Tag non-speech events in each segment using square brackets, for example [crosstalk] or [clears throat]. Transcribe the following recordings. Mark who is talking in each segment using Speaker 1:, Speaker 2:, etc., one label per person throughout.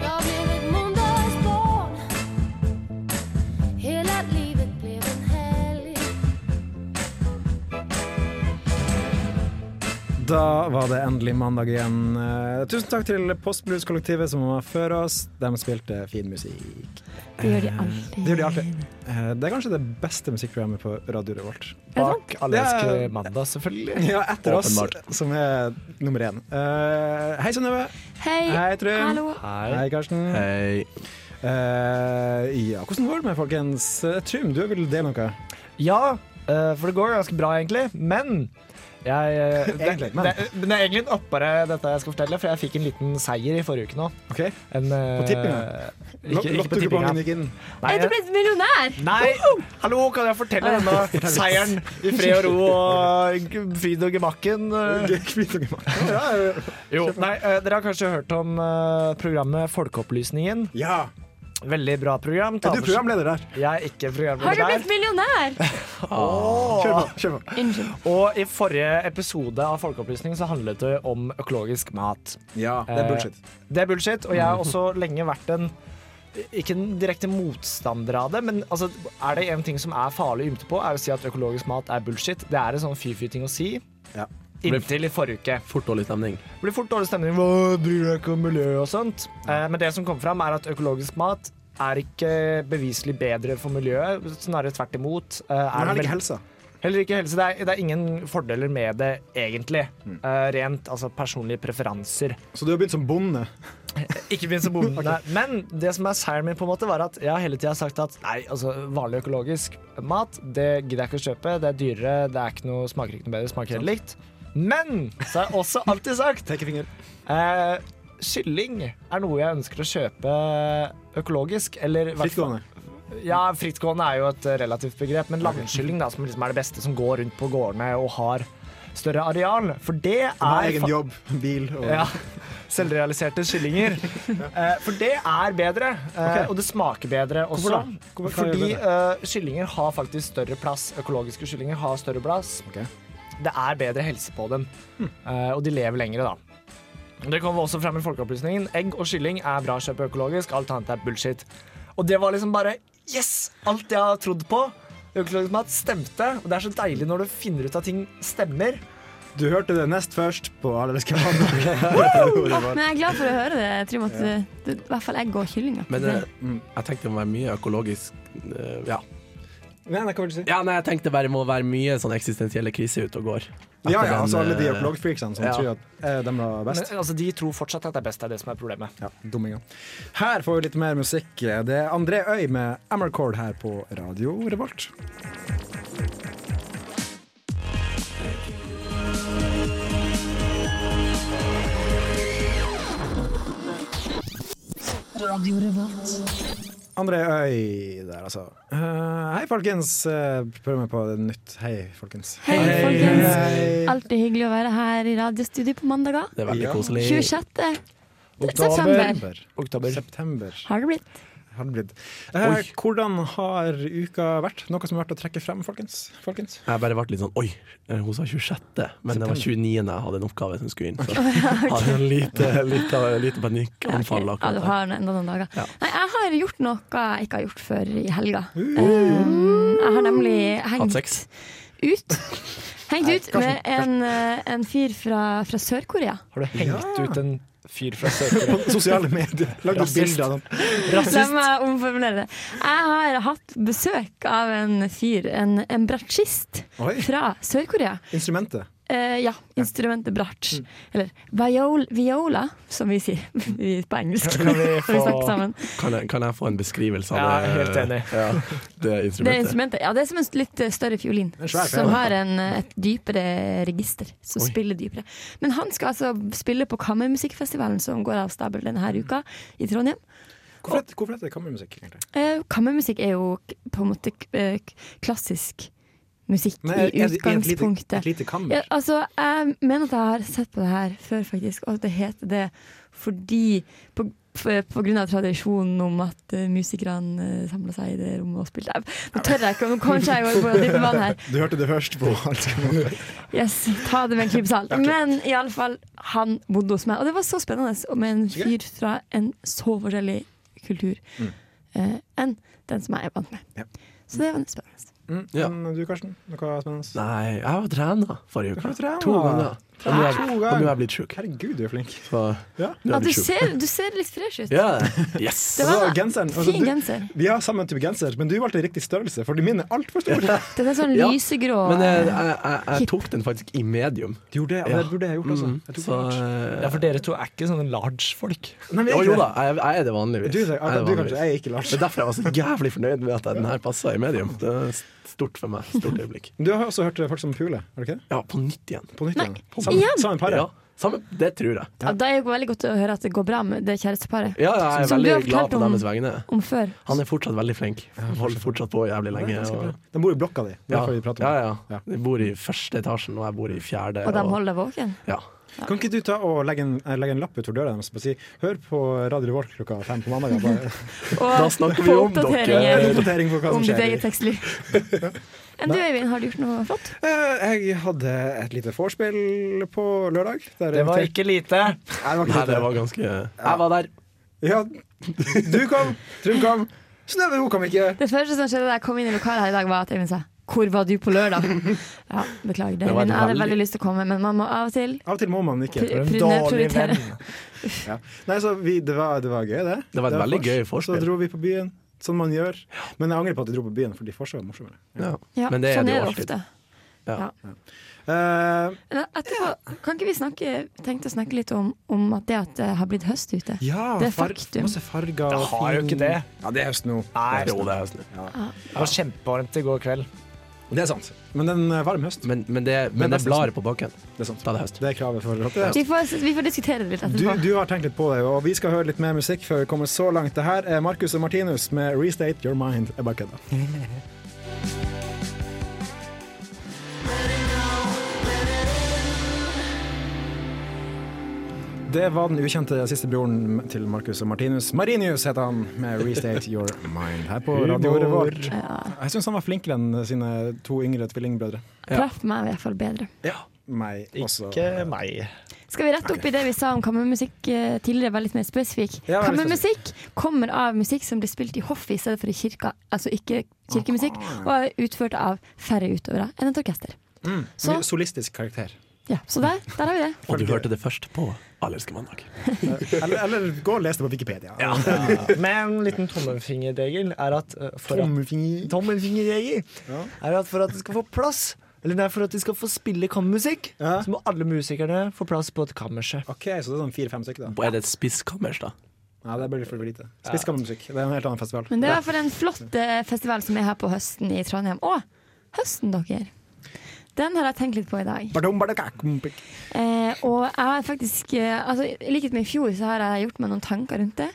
Speaker 1: Da blir et mandagsbarn. Hele livet blir en helg.
Speaker 2: Da var det endelig mandag igjen. Eh, Tusen takk til Postblues-kollektivet som var før oss. De spilte fin musikk.
Speaker 3: Det gjør de alltid.
Speaker 2: Det gjør de alltid. Eh, Det er kanskje det beste musikkprogrammet på Radio Revolt.
Speaker 4: Bak Alle
Speaker 2: Det er-
Speaker 4: elsker mandag, selvfølgelig.
Speaker 2: Ja, etter oss,
Speaker 4: Åpenbart.
Speaker 2: som er nummer én. Eh, hei, Synnøve.
Speaker 3: Hei.
Speaker 2: Hei, Trym.
Speaker 3: Hallo.
Speaker 2: Hei, Karsten.
Speaker 4: Hei.
Speaker 2: Eh, ja, hvordan går det med folkens? Eh, Trym, du vil dele noe?
Speaker 4: Ja, eh, for det går ganske bra, egentlig. Men jeg
Speaker 2: [laughs]
Speaker 4: eh, det,
Speaker 2: Egentlig, men.
Speaker 4: Det, men det er egentlig en oppare dette jeg skal fortelle, for jeg fikk en liten seier i forrige uke nå.
Speaker 2: [laughs] Ok.
Speaker 4: En, eh,
Speaker 2: På tippinga?
Speaker 4: Ikke, ikke på tippinga.
Speaker 2: Lottokupongen gikk inn.
Speaker 4: Nei,
Speaker 3: Jeg er blitt millionær!
Speaker 4: nei, hallo, kan jeg
Speaker 2: [laughs]
Speaker 4: fortelle denne seieren i fred og ro og eh, g- fryd og gemakken? eh? Jo, nei, eh, dere har kanskje hørt om eh, programmet Folkeopplysningen.
Speaker 2: Ja!
Speaker 4: Veldig bra program.
Speaker 2: Er du programleder der?
Speaker 4: Jeg er ikke
Speaker 3: Har du
Speaker 4: programleder
Speaker 3: blitt
Speaker 4: der.
Speaker 3: millionær?
Speaker 2: Kjør på. kjør på
Speaker 3: Unnskyld.
Speaker 4: Og i forrige episode av Folkeopplysningen så handlet det om økologisk mat.
Speaker 2: Ja, det er
Speaker 4: Eh,
Speaker 2: bullshit.
Speaker 4: Det er bullshit, og jeg har
Speaker 2: [laughs]
Speaker 4: også lenge vært en ikke en direkte motstander av det, men altså, er det en ting som er farlig å ymte på, er å si at økologisk mat er bullshit. Det er en sånn fy-fy-ting å si.
Speaker 2: Ja.
Speaker 4: Inntil i forrige uke.
Speaker 5: Fort dårlig stemning.
Speaker 4: Det blir fort dårlig stemning. Hva bryr du deg ikke om miljø og sånt? Eh, men det som kom fram, er at økologisk mat er ikke beviselig bedre for miljøet. Snarere tvert imot. Eh, er
Speaker 2: Men
Speaker 4: det
Speaker 2: heller
Speaker 4: vel-
Speaker 2: ikke helsa.
Speaker 4: Heller ikke helse. Det er, det er ingen fordeler med det, egentlig. Eh, rent altså personlige preferanser.
Speaker 2: Så du har begynt som bonde?
Speaker 4: Ikke minst bonden. Men det som er seieren min, på en måte, var at jeg har hele tida sagt at nei, altså, vanlig økologisk mat det gidder jeg ikke å kjøpe. Det er dyrere, det er ikke noe, smaker ikke noe bedre, smaker helt likt. Men så har jeg også alltid sagt
Speaker 2: Pekefinger.
Speaker 4: eh, kylling er noe jeg ønsker å kjøpe økologisk. Eller i hvert fall-
Speaker 2: Frittgående.
Speaker 4: Ja, frittgående er jo et eh, relativt begrep, men langkylling da, som liksom er det beste som går rundt på gårdene og har større areal. For det
Speaker 2: Du har
Speaker 4: er
Speaker 2: egen jobb, bil og
Speaker 4: ja. Selvrealiserte
Speaker 2: [laughs]
Speaker 4: kyllinger. Eh, for det er bedre, eh, og det smaker bedre
Speaker 2: Hvorfor
Speaker 4: også.
Speaker 2: da? Hvorfor- hva gjør
Speaker 4: Fordi
Speaker 2: det
Speaker 4: eh, kyllinger har faktisk større plass. Økologiske kyllinger har større plass.
Speaker 2: Ok. Hm.
Speaker 4: Det er bedre helse på dem, eh, og de lever lengre, da. Det kommer også frem i folkeopplysningen. Egg og kylling er bra å kjøpe økologisk, alt annet er bullshit. Og det var liksom bare Yes! Alt jeg har trodd på. Økologisk mat stemte, og det er så deilig når du finner ut at ting stemmer.
Speaker 2: Du hørte det nest først på Allerske
Speaker 4: [laughs]
Speaker 2: mandag.
Speaker 3: Men jeg er glad for å høre det, Trym, at du, du, i hvert fall egg og kylling. at
Speaker 5: Men
Speaker 3: det-
Speaker 5: eh, jeg tenkte det må være mye økologisk eh, ja.
Speaker 2: Nei, nei, hva vil du si?
Speaker 5: ja, nei, jeg tenkte bare det må være mye sånn eksistensielle kriser ute og går. Etter
Speaker 2: Ja, ja,
Speaker 5: den,
Speaker 2: altså alle de
Speaker 5: eh,
Speaker 2: økologfreaksene som
Speaker 5: ja.
Speaker 2: tror at eh, de var best.
Speaker 4: Men, altså, de tror fortsatt at det er best, det er det som er problemet.
Speaker 2: Ja, dumminger. Her får vi litt mer musikk. Det er André Øy med Amercord her på Radio Revolt. André Øy der, altså. Eh, hei, folkens. Eh, prøv meg på det nytt. Hei, folkens.
Speaker 3: Hei, folkens.
Speaker 2: Hei.
Speaker 3: Alltid hyggelig å være her i radiostudio på mandager.
Speaker 5: Det er veldig
Speaker 2: Ja.
Speaker 5: koselig.
Speaker 3: 26. september.
Speaker 4: Oktober. Oktober.
Speaker 2: September.
Speaker 3: har det blitt.
Speaker 2: har det blitt. Eh, hvordan har uka vært? Noe som er verdt å trekke frem, folkens? folkens?
Speaker 5: Jeg bare ble litt sånn Oi, eh, hun sa 26., men det var 29. jeg hadde en oppgave som skulle inn.
Speaker 3: [laughs]
Speaker 5: Så jeg hadde en lite, lite, lite panikkanfall
Speaker 3: Ja, du
Speaker 5: akkurat.
Speaker 3: har enda noen dager.
Speaker 5: Ja.
Speaker 3: Nei, jeg har gjort noe jeg ikke har gjort før i helga. Um, jeg har nemlig
Speaker 5: Uh. Hatt
Speaker 3: hengt
Speaker 5: sex.
Speaker 3: ut. Hengt ut
Speaker 4: Karsten,
Speaker 3: med en, eh, en fyr fra, fra Sør-Korea.
Speaker 4: Har du hengt ut en fyr fra [laughs] Sør-Korea?
Speaker 2: Sosiale medier. [laughs] Lagd noen
Speaker 4: Rasist.
Speaker 2: bilder av dem.
Speaker 3: La meg omformulere det. Jeg har hatt besøk av en fyr, en, en bratsjist
Speaker 2: Oi.
Speaker 3: fra Sør-Korea.
Speaker 2: Instrumentet.
Speaker 3: Eh, ja, instrumentet bratsj.
Speaker 2: Mm.
Speaker 3: Eller viol, viola, som vi sier [laughs] vi på engelsk.
Speaker 4: Kan vi
Speaker 3: [laughs] Når vi
Speaker 4: få-
Speaker 3: snakker sammen.
Speaker 5: Kan jeg, kan jeg få en beskrivelse av
Speaker 4: Ja,
Speaker 5: det?
Speaker 4: jeg er helt enig.
Speaker 5: Ja, det
Speaker 3: Det er
Speaker 5: instrumentet.
Speaker 3: instrumentet. Ja, det er som en litt eh, større fiolin.
Speaker 2: En svær
Speaker 3: Som
Speaker 2: fiolin.
Speaker 3: har en, eh, et dypere register. Som
Speaker 5: Oi.
Speaker 3: spiller dypere. Men han skal altså spille på Kammermusikkfestivalen som går av stabel denne her uka i Trondheim.
Speaker 2: Hvorfor heter, hvorfor heter det kammermusikk? egentlig?
Speaker 3: Eh, kammermusikk er jo k- på en måte k- eh, k- klassisk musikk
Speaker 2: Nei, er det-
Speaker 3: i
Speaker 2: er det et lite-
Speaker 3: utgangspunktet.
Speaker 2: Et lite kammer.
Speaker 3: Ja, altså, jeg mener at jeg har sett på det her før, faktisk, og at det heter det fordi på, pga. tradisjonen om at eh, musikerne eh, samla seg i det rommet og spilte. Nei, Nå tør jeg ikke, nå kommer ikke jeg på dippemann her.
Speaker 6: Du hørte det først
Speaker 2: [laughs]
Speaker 6: på Alskemamma.
Speaker 3: Yes, Ta det med en klype salt. Men i alle fall, han bodde hos meg, og det var så spennende og med en fyr fra en så forskjellig kultur eh, enn den som jeg er vant med.
Speaker 2: Ja.
Speaker 3: Så det var litt spennende.
Speaker 2: Mm.
Speaker 5: Ja.
Speaker 2: Men Du, Karsten? Noe spennende?
Speaker 5: Nei, jeg var trena forrige
Speaker 2: Har
Speaker 5: uke.
Speaker 2: du trena?
Speaker 5: To ganger. Og nå er-
Speaker 2: To
Speaker 5: og nå er
Speaker 2: ganger.
Speaker 5: jeg blitt sjuk.
Speaker 2: Herregud, du er flink.
Speaker 5: Så
Speaker 2: Ja.
Speaker 5: nå er jeg
Speaker 3: Ja, du,
Speaker 5: blitt sjuk.
Speaker 3: ser, du ser litt fresh ut.
Speaker 5: Ja, yes!
Speaker 3: Det var
Speaker 2: Altså, genseren, altså,
Speaker 3: fin
Speaker 2: du-
Speaker 3: genser.
Speaker 2: Vi har samme type genser, men du valgte riktig størrelse, fordi min er altfor stor.
Speaker 3: Den er sånn
Speaker 5: Ja,
Speaker 3: lysegrå.
Speaker 5: Men eh, jeg, jeg, jeg, jeg tok den faktisk i medium.
Speaker 2: Du gjorde det, og
Speaker 5: Ja.
Speaker 2: det burde jeg gjort også.
Speaker 5: Mm,
Speaker 2: Jeg tok
Speaker 5: så eh,
Speaker 2: det.
Speaker 4: Ja, for dere to er ikke sånne large-folk.
Speaker 2: Nei, men jeg
Speaker 5: Jo,
Speaker 2: er
Speaker 5: jo
Speaker 2: ikke
Speaker 5: da,
Speaker 2: det.
Speaker 5: jeg, jeg er det vanligvis.
Speaker 2: Du, sier-
Speaker 5: Jeg er
Speaker 2: ja,
Speaker 5: det
Speaker 2: du kanskje,
Speaker 5: vanligvis.
Speaker 2: jeg er ikke Lars.
Speaker 5: Det er derfor jeg var så jævlig fornøyd med at den her passa i medium. Det er stort for meg. Stort øyeblikk.
Speaker 2: Du har også hørt folk som puler, har du ikke det?
Speaker 5: Ja, på nytt igjen.
Speaker 2: På nytt
Speaker 3: Nei,
Speaker 2: igjen.
Speaker 3: på-
Speaker 2: Samme,
Speaker 3: igjen?
Speaker 2: samme paret.
Speaker 5: Ja, samme, det tror jeg.
Speaker 3: Ja, Da er det jo veldig godt å høre at det går bra med det kjæresteparet.
Speaker 5: Ja, jeg er
Speaker 3: Som du
Speaker 5: veldig
Speaker 3: har fortalt
Speaker 5: glad på
Speaker 3: om-
Speaker 5: deres vegne.
Speaker 3: Om før.
Speaker 5: Han er fortsatt veldig flink. Holder fortsatt på jævlig
Speaker 2: Det er
Speaker 5: lenge.
Speaker 2: ganske
Speaker 5: Og,
Speaker 2: bra. De bor i blokka di. Det er
Speaker 5: ja,
Speaker 2: derfor vi prater om
Speaker 5: ja,
Speaker 2: det.
Speaker 5: ja. Jeg bor i første etasjen, og jeg bor i fjerde.
Speaker 3: Og de holder deg våken?
Speaker 5: ja.
Speaker 2: Kan ikke du ta og legge en, eh, legge en lapp utover døra deres og si 'Hør på Radio Revolt klokka fem på mandag'? Bare
Speaker 5: Da
Speaker 3: Og
Speaker 5: snakker vi
Speaker 3: på
Speaker 5: om
Speaker 3: oppdateringer [laughs]
Speaker 2: [laughs]
Speaker 5: dere.
Speaker 2: oppdatering på hva som
Speaker 3: om ditt
Speaker 2: skjer.
Speaker 3: eget sexliv.
Speaker 5: [laughs]
Speaker 3: Enn du, Øyvind, har du gjort noe flott?
Speaker 2: Eh, Jeg hadde et lite vorspiel på lørdag. der
Speaker 4: Det var
Speaker 2: jeg
Speaker 4: ikke lite.
Speaker 2: inviterte- Nei, det var
Speaker 5: Nei,
Speaker 2: ikke
Speaker 5: det
Speaker 2: lite.
Speaker 5: var ganske Jeg var der.
Speaker 2: Ja, du kom, Trym kom, Synnøve hun kom ikke.
Speaker 3: Det første som skjedde da jeg kom inn i lokalet her i dag, var at Øyvind sa 'Hvor var du
Speaker 5: [laughs]
Speaker 3: på lørdag?' Ja, beklager det.
Speaker 5: Det var
Speaker 3: Øyvind, jeg hadde
Speaker 5: veldig-
Speaker 3: veldig lyst til å komme, men man må av og til
Speaker 2: Av og til må man ikke.
Speaker 3: pri-
Speaker 4: En
Speaker 3: pri-
Speaker 4: dårlig
Speaker 3: prioritere.
Speaker 4: venn.
Speaker 2: Ja. Nei, så vi, det, var, det var gøy, det.
Speaker 5: Det var et veldig
Speaker 2: vors.
Speaker 5: gøy vorspiel.
Speaker 2: Så dro vi på byen, som man gjør. Men jeg angrer på at jeg dro på byen, fordi vorset var morsommere.
Speaker 5: Ja.
Speaker 3: Ja,
Speaker 5: Men det er
Speaker 3: sånn
Speaker 5: det
Speaker 3: er
Speaker 5: jo alltid.
Speaker 3: det ofte.
Speaker 2: Eh,
Speaker 3: Men Etterpå, kan ikke vi snakke, tenkte å snakke litt om, om at det at det har blitt høst ute?
Speaker 2: ja,
Speaker 3: Det er
Speaker 2: far-
Speaker 3: faktum.
Speaker 2: Masse farger.
Speaker 4: Det har jo
Speaker 2: fin-
Speaker 4: ikke det.
Speaker 2: Ja, det er høst nå.
Speaker 4: Nei,
Speaker 5: Jo, det er høsten.
Speaker 4: det var kjempevarmt i går kveld.
Speaker 2: Det er sant. Men det er en eh, varm høst.
Speaker 5: Men, men, det, men det blar på bakken.
Speaker 2: sånn Det er sant.
Speaker 5: Da er det høst.
Speaker 2: Det er kravet for
Speaker 3: Vi får, vi får diskutere det litt
Speaker 2: Du,
Speaker 3: etterpå.
Speaker 2: du har tenkt litt på det, og vi skal høre litt mer musikk før vi kommer så langt. Det her er Marcus og Martinus med 'Restate Your Mind'. Jeg bare kødda. Det var den ukjente siste broren til Marcus og Martinus. Marinius heter han, med 'Restate Your Mind' her på radioen vår.
Speaker 3: Ja,
Speaker 2: Jeg syns han var flinkere enn sine to yngre tvillingbrødre.
Speaker 3: traff meg i hvert fall bedre.
Speaker 2: Meg også.
Speaker 4: Ikke meg.
Speaker 3: Skal vi rette opp i det vi sa om kammermusikk eh, tidligere, være litt mer spesifikk?
Speaker 2: Ja, vær litt
Speaker 3: kammermusikk kommer av musikk som blir spilt i hoffet i stedet for i kirka, altså ikke kirkemusikk,
Speaker 2: Ah.
Speaker 3: og er utført av færre utøvere enn et orkester. Så,
Speaker 2: Mye Solistisk karakter.
Speaker 3: ja, så der, der har vi det.
Speaker 5: Og du hørte det først på Allerske mandag.
Speaker 2: Eller, eller gå og les det på Wikipedia.
Speaker 4: Men en liten tommelfingerregel er at eh, for at,
Speaker 2: Tommelfinger.
Speaker 4: tommelfingerregel er at for at det skal få plass eller nei, For at de skal få spille kammermusikk,
Speaker 2: Ja.
Speaker 4: så må alle musikerne få plass på et kammerset.
Speaker 2: Ok, så det er sånn fire-fem stykker, da.
Speaker 5: Og Er det et spisskammers, da?
Speaker 2: Ja, det blir litt for lite. Spiskammermusikk. Det er en helt annen festival.
Speaker 3: Men det er i hvert fall en flott eh, festival som er her på høsten i Trondheim. Å, høsten, dere! Den har jeg tenkt litt på i dag.
Speaker 2: Badum, badakakumpik.
Speaker 3: Eh, og jeg har faktisk, eh, altså, i likhet med i fjor, så har jeg gjort meg noen tanker rundt det.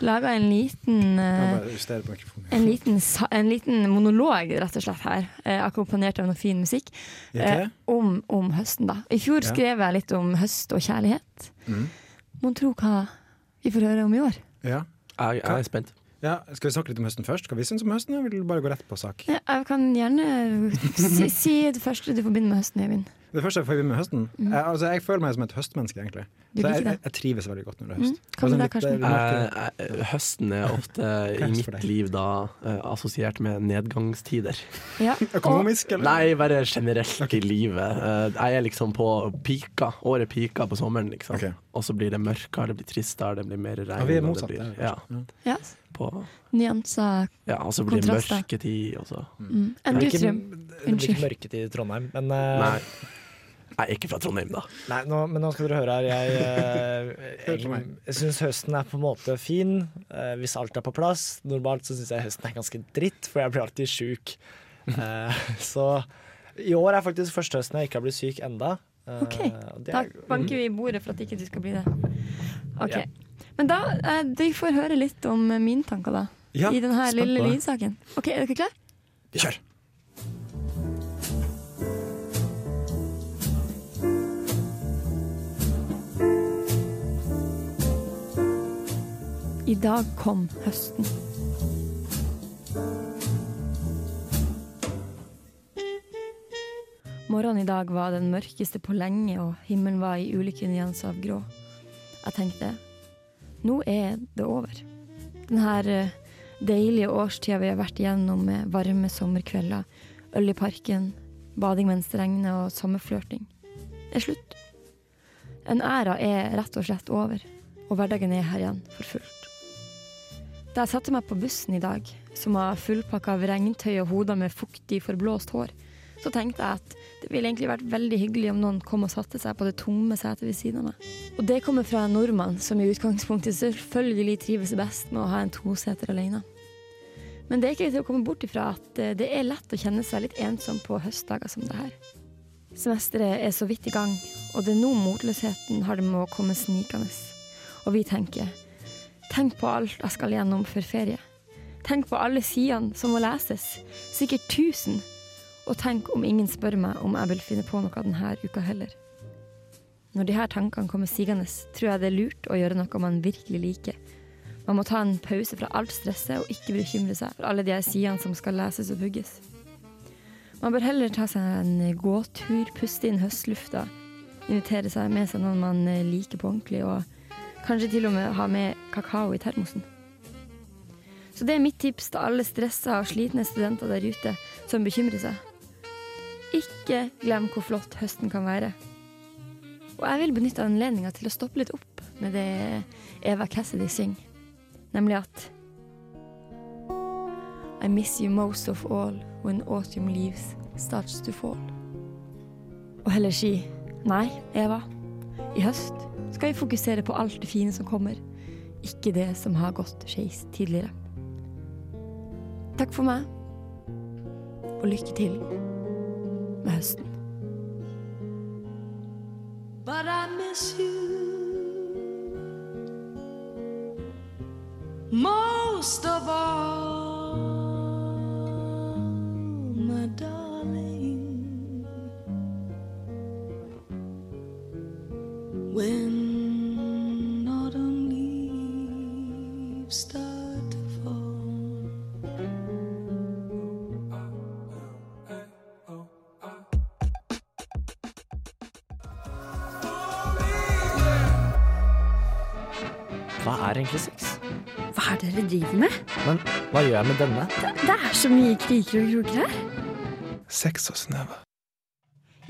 Speaker 3: Laga en liten
Speaker 2: Jeg
Speaker 3: eh,
Speaker 2: må bare justere på mikrofonen.
Speaker 3: En liten, sa- en liten monolog, rett og slett, her. Eh, akkompagnert av noe fin musikk.
Speaker 2: Ikke?
Speaker 3: Eh, om, om høsten, da. I fjor
Speaker 2: Ja.
Speaker 3: skrev jeg litt om høst og kjærlighet.
Speaker 4: Mm.
Speaker 2: Mhm.
Speaker 3: Mon tro hva vi får høre om i år?
Speaker 2: Ja.
Speaker 5: Jeg, jeg er spent.
Speaker 2: ja. Skal vi snakke litt om høsten først? Hva vi syns om høsten? Eller vil du bare gå rett på sak?
Speaker 3: Ja, Jeg kan gjerne si, [laughs] si det første du forbinder med høsten, Øyvind.
Speaker 2: Det første jeg får med høsten jeg, altså, jeg føler meg som et høstmenneske, egentlig.
Speaker 3: Mm. Du
Speaker 2: Så jeg,
Speaker 3: liker det. Mm.
Speaker 2: jeg, jeg trives veldig godt når det er høst.
Speaker 3: Hva
Speaker 2: Det
Speaker 3: med deg,
Speaker 2: er sånn litt- det
Speaker 3: Karsten?
Speaker 2: er mørkere.
Speaker 5: Eh, eh, høsten er
Speaker 2: [laughs]
Speaker 5: ofte i
Speaker 2: høst for
Speaker 5: mitt
Speaker 2: deg?
Speaker 5: liv da eh, assosiert med nedgangstider.
Speaker 4: [laughs]
Speaker 3: Ja. Og,
Speaker 2: Økonomisk, eller?
Speaker 5: Eh, Nei, bare generelt i livet. Eh, jeg er liksom på pika. Året pika på sommeren, liksom.
Speaker 2: Ok.
Speaker 5: Og så blir det mørkere, det blir tristere, det blir mer regn.
Speaker 2: Ja, vi er
Speaker 5: og det
Speaker 2: motsatt
Speaker 5: blir-
Speaker 2: der.
Speaker 5: Ja,
Speaker 3: ja,
Speaker 5: på-
Speaker 3: nyanser.
Speaker 5: ja, og så blir det
Speaker 3: Kontraster.
Speaker 5: mørketid, og så
Speaker 3: Mm. Enn du,
Speaker 4: Det blir
Speaker 3: Trym?
Speaker 4: ikke- det blir ikke mørketid i Trondheim, men, eh,
Speaker 5: Nei. Jeg er ikke fra Trondheim, da.
Speaker 4: Nei, nå, men nå skal dere høre
Speaker 2: [laughs]
Speaker 4: her. Jeg, eh,
Speaker 2: Hør på
Speaker 4: jeg,
Speaker 2: meg.
Speaker 4: jeg syns høsten er på en måte fin, eh, hvis alt er på plass. Normalt så syns jeg høsten er ganske dritt, for jeg blir
Speaker 2: [laughs]
Speaker 4: alltid sjuk. Eh, så i år er faktisk første høsten jeg ikke har blitt syk enda. Eh,
Speaker 3: Ok,
Speaker 4: og det
Speaker 3: Da
Speaker 4: er,
Speaker 3: banker vi i bordet for at ikke du skal bli det. Ok.
Speaker 4: Ja.
Speaker 3: Men da, eh, de får høre litt om eh, mine tanker, da.
Speaker 2: Ja,
Speaker 3: I denne
Speaker 2: spent
Speaker 3: lille
Speaker 2: på det.
Speaker 3: lydsaken. Ok, er dere klare?
Speaker 2: Kjør!
Speaker 3: I dag kom høsten. Morgenen i dag var den mørkeste på lenge, og himmelen var i ulike nyanser av grå. Jeg tenkte nå er det over. eh, Denne deilige årstida vi har vært igjennom med varme sommerkvelder, øl i parken, bading mens det regner og sommerflørting, er slutt. En æra er rett og slett over, og hverdagen er her igjen for fullt. Da jeg satte meg på bussen i dag, som var fullpakka av regntøy og hoder med fuktig, forblåst hår, så tenkte jeg at det ville egentlig vært veldig hyggelig om noen kom og satte seg på det tomme setet ved siden av meg. Og det kommer fra en nordmann som i utgangspunktet selvfølgelig trives best med å ha en toseter alene. Men det er ikke til å komme bort ifra at eh, det er lett å kjenne seg litt ensom på høstdager som det her. Semesteret er så vidt i gang, og det er nå motløsheten har det med å komme snikende. Og vi tenker Tenk på alt jeg skal gjennom før ferie. Tenk på alle sidene som må leses. Sikkert tusen. Og tenk om ingen spør meg om jeg vil finne på noe denne uka heller. Når de her tankene kommer sigende, tror jeg det er lurt å gjøre noe man virkelig liker. Man må ta en pause fra alt stresset og ikke bekymre seg for alle de her sidene som skal leses og pugges. Man bør heller ta seg en gåtur, puste inn høstlufta, invitere seg med seg noen man eh, liker på ordentlig, og kanskje til og med ha med kakao i termosen. Så det er mitt tips til alle stressa og slitne studenter der ute som bekymrer seg. Ikke glem hvor flott høsten kan være. Og jeg vil benytte anledninga til å stoppe litt opp med det Eva Cassidy synger, nemlig at I miss you most of all when autumn leaves starts to fall. Og heller si nei, Eva. I høst skal vi fokusere på alt det fine som kommer, ikke det som har gått skeis tidligere. Takk for meg, og lykke til med høsten.
Speaker 1: But I miss you most of all, my darling. When autumn leaves start to fall.
Speaker 4: Hva er egentlig sex?
Speaker 7: Hva er det dere driver med?
Speaker 4: Men hva gjør jeg med denne?
Speaker 7: Det er så mye kriker og kroker her.
Speaker 5: Sex og snøve.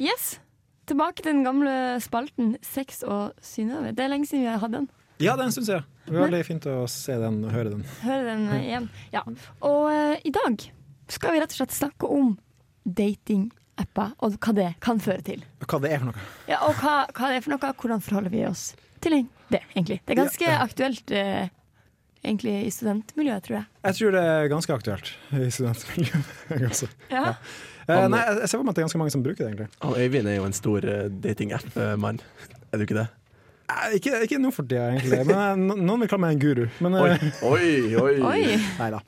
Speaker 3: Yes! Tilbake til den gamle spalten Sex og Synnøve. Det er lenge siden vi har hatt den.
Speaker 2: Ja, den syns jeg. Det var veldig fint å se den og høre den.
Speaker 3: Høre den eh, igjen. Ja. Og eh, i dag skal vi rett og slett snakke om datingapper og hva det kan føre til.
Speaker 2: Hva det er for noe.
Speaker 3: Ja, og hva, hva det er for noe, hvordan forholder vi oss til en- det, egentlig. Det er ganske aktuelt eh, egentlig i studentmiljøet, tror jeg.
Speaker 2: Jeg tror det er ganske aktuelt i studentmiljøet. [laughs] også.
Speaker 3: Ja.
Speaker 2: Eh, nei, jeg jeg ser for meg at det er ganske mange som bruker det, egentlig.
Speaker 5: Han Øyvind er jo en stor eh, datingapp-mann. Er du ikke det?
Speaker 2: Eh, Ikke, ikke nå for det, egentlig. Men eh, no- noen vil kalle meg en guru. Men
Speaker 5: Oi,
Speaker 2: eh,
Speaker 5: oi, oi.
Speaker 3: [laughs] Oi!
Speaker 2: nei da.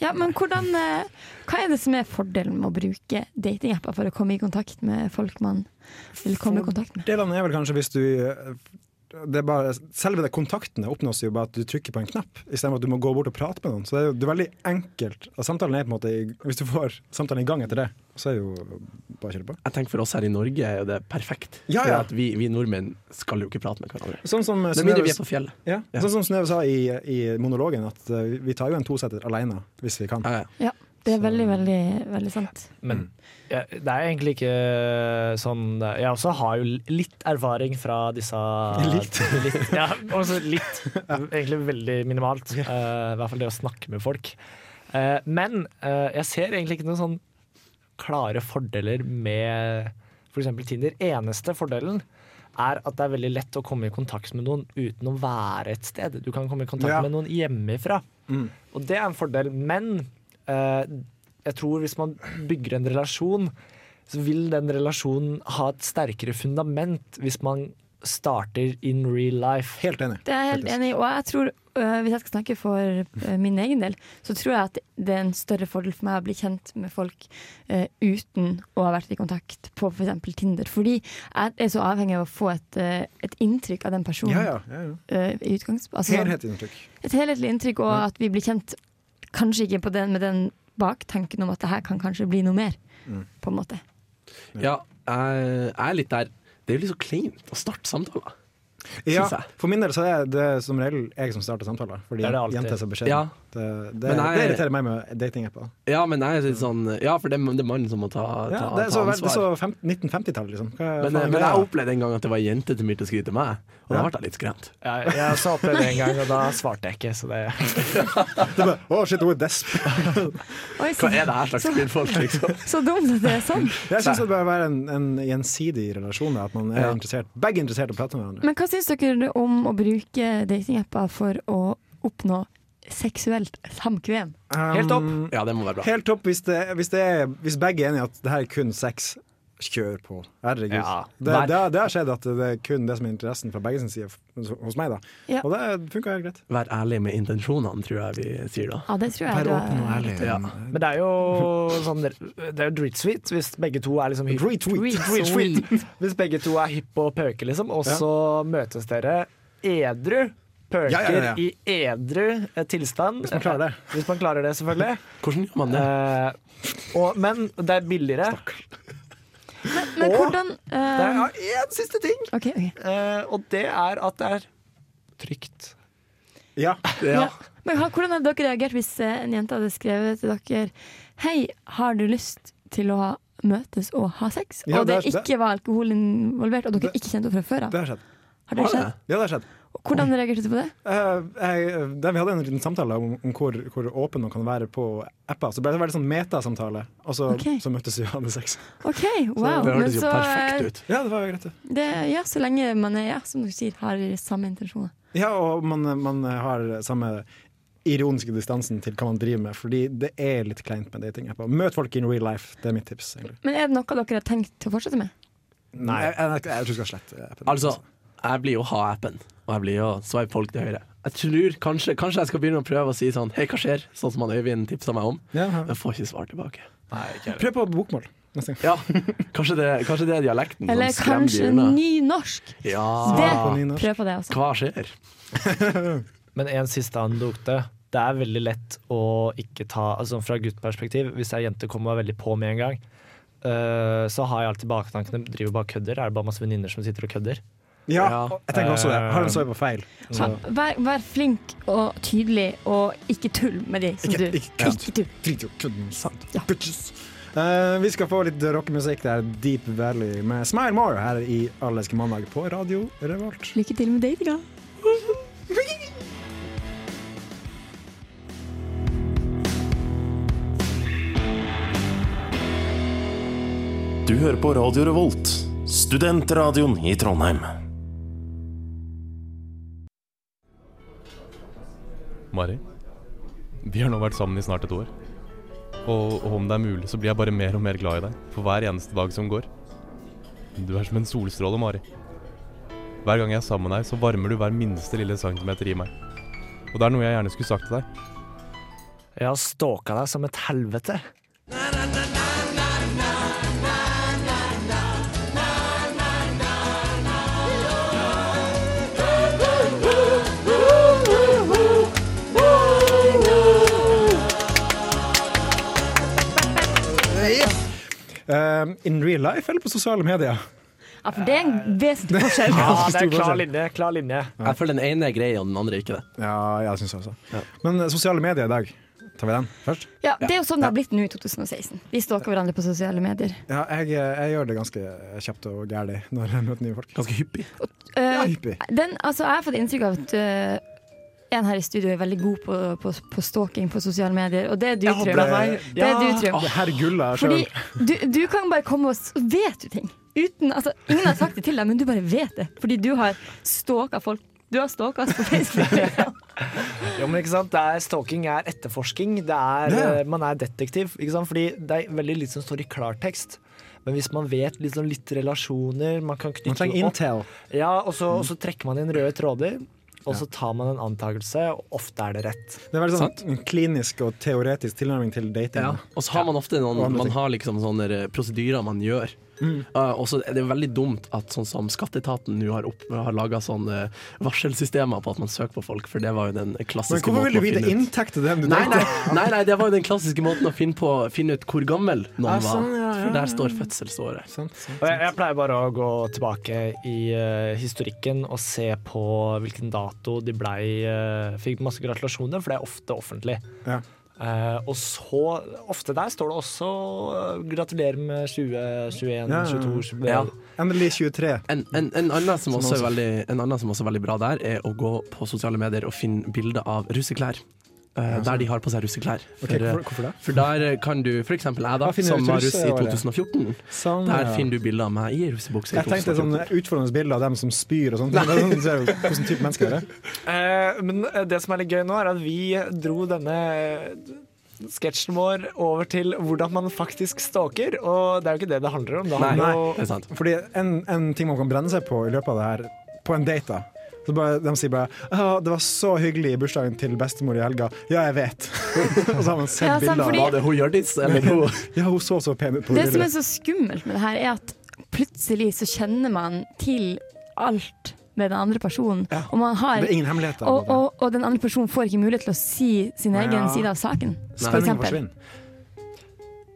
Speaker 3: Ja, men hvordan, eh, hva er det som er fordelen med å bruke datingapper for å komme i kontakt med folk man vil komme i kontakt med?
Speaker 2: Delene er vel kanskje hvis du eh, det er bare, Selve det kontaktene oppnås jo bare at du trykker på en knapp, istedenfor at du må gå bort og prate med noen. Så det er jo det er veldig enkelt. Og samtalen er på en måte i- Hvis du får samtalen i gang etter det, så er det jo bare å kjøre på.
Speaker 5: Jeg tenker For oss her i Norge er jo det perfekt.
Speaker 2: Ja,
Speaker 5: For
Speaker 2: ja.
Speaker 5: at vi, vi nordmenn skal jo ikke prate med hverandre.
Speaker 2: Sånn som eh,
Speaker 5: Med mindre vi
Speaker 2: Synnøve-
Speaker 5: er på fjellet.
Speaker 2: Ja,
Speaker 5: Ja.
Speaker 2: Sånn som Synnøve sa i, i monologen, at eh, vi tar jo en tosetter alene hvis vi kan.
Speaker 5: Ja, ja.
Speaker 3: Ja, det er veldig, veldig, veldig sant.
Speaker 4: Men
Speaker 2: Mm.
Speaker 4: jeg, det er egentlig ikke sånn Jeg også har jo litt erfaring fra disse
Speaker 2: [laughs] Litt?
Speaker 4: [laughs] litt ja, også litt.
Speaker 2: [laughs]
Speaker 4: Egentlig veldig minimalt. eh, I hvert fall det å snakke med folk. Eh, men eh, jeg ser egentlig ikke noen sånn klare fordeler med f.eks. Tinder. Eneste fordelen er at det er veldig lett å komme i kontakt med noen uten å være et sted. Du kan komme i kontakt
Speaker 2: Ja.
Speaker 4: med noen hjemmefra.
Speaker 2: Mm.
Speaker 4: Og det er en fordel, men eh, jeg tror hvis man bygger en relasjon, så vil den relasjonen ha et sterkere fundament hvis man starter in real life.
Speaker 2: Helt enig.
Speaker 3: Det er jeg helt
Speaker 2: faktisk.
Speaker 3: enig i. Og jeg tror, øh, hvis jeg skal snakke for øh, min egen del, så tror jeg at det er en større fordel for meg å bli kjent med folk øh, uten å ha vært i kontakt på f.eks. Tinder. Fordi jeg er så avhengig av å få et, øh, et inntrykk av den personen.
Speaker 2: Ja, ja, ja, ja.
Speaker 3: øh, i utgangs- altså,
Speaker 2: Helhetsinntrykk.
Speaker 3: et helhetlig inntrykk, og at vi blir kjent kanskje ikke på den, med den baktanken om at det her kan kanskje bli noe mer. På en måte.
Speaker 5: Ja, jeg jeg er litt der. Det er jo litt så kleint å starte samtaler.
Speaker 2: Ja,
Speaker 5: Synes jeg.
Speaker 2: for min del så er det som regel jeg som starter samtaler, fordi
Speaker 4: Det er det alltid.
Speaker 2: jenter er så beskjedne.
Speaker 5: Ja.
Speaker 2: Det, det,
Speaker 5: Men jeg-
Speaker 2: det irriterer meg med datingapper.
Speaker 5: Ja, men jeg er litt sånn Ja, for det er, det er mannen som må ta, ta,
Speaker 2: Ja, det er så,
Speaker 5: ta
Speaker 2: det er så
Speaker 5: ansvar.
Speaker 2: fem- 1950-tallet, liksom. Hva,
Speaker 5: Men, eh,
Speaker 2: faen er
Speaker 5: men
Speaker 2: det?
Speaker 5: jeg opplevde en gang at det var ei jente til Myrte som skrev til meg, og da
Speaker 2: Ja.
Speaker 5: ble jeg litt skremt.
Speaker 4: Jeg, jeg sa opp det en gang, og da svarte jeg ikke. Så det,
Speaker 2: Det er bare, Å, shit, hun er desp.
Speaker 3: Oi, så,
Speaker 5: Hva er det her [laughs] slags kvinnfolk, liksom?
Speaker 3: så dumt at det er sånn!
Speaker 2: Jeg syns det bør være en, en gjensidig relasjon, da, at man er
Speaker 5: Ja.
Speaker 2: interessert, begge er interessert i å prate med hverandre.
Speaker 3: Men hva syns dere om å bruke datingapper for å oppnå seksuelt samkvem?
Speaker 4: Helt opp.
Speaker 2: Um,
Speaker 5: Ja, det må være bra.
Speaker 2: Helt opp hvis, det, hvis, det er, hvis begge er enige at det her er kun sex. Kjør på. Herregud.
Speaker 4: Ja.
Speaker 2: det, det, har- det har skjedd at det er kun det som er interessen fra begge sin side f- hos meg, da.
Speaker 3: Ja.
Speaker 2: Og det funka helt greit.
Speaker 5: Vær ærlig med intensjonene, tror jeg vi sier da.
Speaker 3: Ja, det tror jeg. du er-
Speaker 5: Ja.
Speaker 4: men det er jo sånn Det er jo dritsweet hvis begge to er liksom hypp.
Speaker 2: Retweet.
Speaker 4: Dritsweet. Hvis begge to er hypp og pøker, liksom, og så møtes dere edru. Pøker
Speaker 2: Ja, ja, ja, ja.
Speaker 4: i edru eh, tilstand.
Speaker 2: Hvis man klarer det.
Speaker 4: Hvis man klarer det, selvfølgelig.
Speaker 5: Hvordan gjør man det?
Speaker 4: Eh, og, men det er billigere.
Speaker 3: Men
Speaker 4: Og-
Speaker 3: hvordan
Speaker 4: Det
Speaker 3: eh,
Speaker 4: er én siste ting,
Speaker 3: OK. ok.
Speaker 4: eh, og det er at det er trygt.
Speaker 2: Ja.
Speaker 3: Ja. Men ha- hvordan hadde dere reagert hvis eh, en jente hadde skrevet til dere Hei, har du lyst til å møtes og ha sex?
Speaker 2: Ja,
Speaker 3: og det
Speaker 2: det er- det-
Speaker 3: ikke var alkohol involvert, og dere ikke kjente henne fra før av.
Speaker 2: Det har skjedd.
Speaker 3: Har det skjedd?
Speaker 2: Ja, det har skjedd.
Speaker 3: Hvordan reagerte du på det?
Speaker 2: Eh, jeg, der vi hadde en liten samtale om, om hvor, hvor åpen man kan være på apper. Så ble det en veldig sånn metasamtale, og så,
Speaker 3: Ok.
Speaker 2: så møttes vi og hadde sex.
Speaker 3: OK, wow.
Speaker 5: Det
Speaker 3: Men
Speaker 5: hørtes jo
Speaker 3: så, eh,
Speaker 5: perfekt ut.
Speaker 2: Ja, det var jo greit, det.
Speaker 3: det, ja, så lenge man er, ja, som dere sier, har samme intensjoner.
Speaker 2: Ja, og man, man har samme ironiske distansen til hva man driver med, fordi det er litt kleint med datingapper. Møt folk in real life, det er mitt tips. egentlig.
Speaker 3: Men er det noe dere har tenkt til å fortsette med?
Speaker 2: Nei, jeg, jeg, jeg tror jeg skal slette appen.
Speaker 5: Altså, jeg blir jo ha-appen, og jeg blir jo swipe folk til høyre. Jeg tror kanskje, kanskje jeg skal begynne å prøve å si sånn Hei, hva skjer? Sånn som han Øyvind tipsa meg om.
Speaker 2: Ja, ja.
Speaker 5: Men jeg får ikke svar tilbake.
Speaker 2: Prøv på bokmål neste gang.
Speaker 5: Ja, kanskje det, kanskje det er dialekten
Speaker 3: Eller
Speaker 5: som skremmer de
Speaker 3: kanskje
Speaker 5: unna.
Speaker 3: nynorsk?
Speaker 5: Ja.
Speaker 3: Det,
Speaker 2: på nynorsk.
Speaker 3: prøv på det altså. også.
Speaker 5: Hva skjer?
Speaker 4: Men en siste anekdote. Det er veldig lett å ikke ta altså Fra guttperspektiv, hvis ei jente kommer og er veldig på med en gang, eh, så har jeg alltid baktankene driver bare og kødder. Er det bare masse venninner som sitter og kødder?
Speaker 2: Ja, Um,
Speaker 5: Ja.
Speaker 2: og jeg tenker også det. Har en swipe på feil. Så.
Speaker 3: Ha- Vær, vær flink og tydelig, og ikke tull med de som
Speaker 2: Ikke-
Speaker 3: du
Speaker 2: ikke kødd.
Speaker 3: tull.
Speaker 2: Drit i å kødde med sant.
Speaker 3: Ja.
Speaker 2: Bitches. Eh, vi skal få litt rockemusikk. Det er Deep Valley med Smile More her i Alleske mandag på Radio Revolt.
Speaker 3: Lykke til med datinga.
Speaker 8: Du hører på Radio Revolt, studentradioen i Trondheim.
Speaker 9: Mari, vi har nå vært sammen i snart et år. Og, og om det er mulig, så blir jeg bare mer og mer glad i deg for hver eneste dag som går. Du er som en solstråle, Mari. Hver gang jeg er sammen med deg, så varmer du hver minste lille centimeter i meg. Og det er noe jeg gjerne skulle sagt til deg.
Speaker 4: Jeg har stalka deg som et helvete.
Speaker 2: Eh, in real life eller på sosiale medier?
Speaker 3: Ja, for det er en vesentlig forskjell.
Speaker 4: Ja, det er klar linje. Klar linje.
Speaker 5: Jeg føler den ene er grei, og den andre ikke det.
Speaker 2: Ja, jeg syns også. Men eh, sosiale medier i dag, tar vi den først?
Speaker 3: Ja, det er jo sånn det har blitt nå i 2016. Vi stalker hverandre på sosiale medier.
Speaker 2: Ja, jeg, eh, jeg gjør det ganske kjapt og gærlig når jeg møter nye folk.
Speaker 5: Ganske hyppig.
Speaker 2: Ja,
Speaker 3: Eh,
Speaker 2: hyppig.
Speaker 3: den, altså, jeg har fått inntrykk av at eh, en her i studio er veldig god på, på, på stalking på sosiale medier, og det er du,
Speaker 4: Jeg håper
Speaker 3: Trym.
Speaker 4: det er meg.
Speaker 3: Det er
Speaker 4: Ja.
Speaker 3: du, Trym.
Speaker 2: Å, Herr Gulla
Speaker 3: Fordi
Speaker 2: sjøl.
Speaker 3: du, du kan bare komme og s- så vet du ting. Uten, altså, ingen har sagt det til deg, men du
Speaker 2: [laughs]
Speaker 3: bare vet det. Fordi du har stalka folk. Du har stalka oss på Facebook. liksom.
Speaker 4: Jo, men ikke sant? Det er Stalking er etterforsking. Det er,
Speaker 2: Ja.
Speaker 4: eh, Man er detektiv. Ikke sant? Fordi det er veldig litt som står i klartekst. Men hvis man vet litt, sånn litt relasjoner Man kan knytte
Speaker 2: Man trenger
Speaker 4: det opp.
Speaker 2: intel.
Speaker 4: Ja, og så, og så trekker man inn røde tråder. Og så tar man en antakelse, og ofte er det rett.
Speaker 2: Det er veldig sånn klinisk og teoretisk tilnærming til dating.
Speaker 5: Ja. Og så har man ofte noen
Speaker 2: Og andre
Speaker 5: Man
Speaker 2: ting. Mm.
Speaker 5: har liksom sånne eh, prosedyrer man gjør. Eh, og så er det veldig dumt at sånn som Skatteetaten nå har, opp- har laga sånne varselsystemer på at man søker på folk, for det var jo den
Speaker 2: Men
Speaker 5: klassiske
Speaker 2: hvorfor vil du
Speaker 5: å
Speaker 2: vite
Speaker 5: finne ut-
Speaker 2: inntekt til dem du
Speaker 5: Nei nei,
Speaker 2: dater?
Speaker 5: nei, nei, det var jo den klassiske måten å finne, på, finne ut hvor gammel noen
Speaker 2: Ja, sånn,
Speaker 5: var.
Speaker 2: ja, ja,
Speaker 5: For der står fødselsåret.
Speaker 2: Sant, sant,
Speaker 4: Og jeg,
Speaker 2: sant.
Speaker 4: jeg pleier bare å gå tilbake i eh, historikken og se på hvilken dato de blei eh, Fikk masse gratulasjoner, for det er ofte offentlig.
Speaker 2: Ja.
Speaker 4: Eh, og så Ofte der står det også eh, 'gratulerer med 20,
Speaker 2: ja,
Speaker 4: 21,
Speaker 2: ja.
Speaker 4: 22 20,
Speaker 5: Ja.
Speaker 2: Endelig 23.
Speaker 5: En, en, en, annen som
Speaker 2: Som
Speaker 5: også
Speaker 2: Sånn
Speaker 5: er
Speaker 2: også-
Speaker 5: veldig, en annen som også er veldig bra der, er å gå på sosiale medier og finne bilder av russeklær. Eh, der de har på seg russeklær. For,
Speaker 2: sånn. Ok, hvorfor,
Speaker 5: eh,
Speaker 2: hvorfor det?
Speaker 5: for der kan du f.eks. jeg, da,
Speaker 2: Da finner du
Speaker 5: som
Speaker 2: ut
Speaker 5: var russ i
Speaker 2: russeåret.
Speaker 5: 2014.
Speaker 2: Sånn,
Speaker 5: Der
Speaker 2: ja.
Speaker 5: finner du bilder av meg i russebukse. i
Speaker 2: Jeg tenkte sånn
Speaker 5: 2014.
Speaker 2: utfordrende bilde av dem som spyr og sånt. Det er sånn. ser du Hvordan type mennesker er det?
Speaker 4: Eh, men eh, det som er litt gøy nå, er at vi dro denne eh, sketsjen vår over til hvordan man faktisk stalker, og det er jo ikke det det handler om. Det
Speaker 5: Nei,
Speaker 4: handler
Speaker 5: det er sant.
Speaker 2: Fordi en, en ting man kan brenne seg på i løpet av det her, på en date da så bare, De sier bare «Å, 'Det var så hyggelig i bursdagen til bestemor i helga'. Ja, jeg vet. [laughs] og så har man sett
Speaker 3: Ja, sant,
Speaker 2: bilder
Speaker 3: fordi-
Speaker 5: Var det hun Hjørdis, eller hun
Speaker 2: Ja, hun så så pen ut på
Speaker 3: Det som er
Speaker 2: bildet.
Speaker 3: så skummelt med det her, er at plutselig så kjenner man til alt med den andre personen.
Speaker 2: Ja.
Speaker 3: Og, man har,
Speaker 2: Det er ingen hemmeligheter. på en
Speaker 3: sånn og,
Speaker 2: måte.
Speaker 3: og, og den andre personen får ikke mulighet til å si sin
Speaker 2: Nei,
Speaker 3: egen
Speaker 2: ja.
Speaker 3: side av saken. For
Speaker 2: Spenningen
Speaker 3: eksempel.
Speaker 2: forsvinner.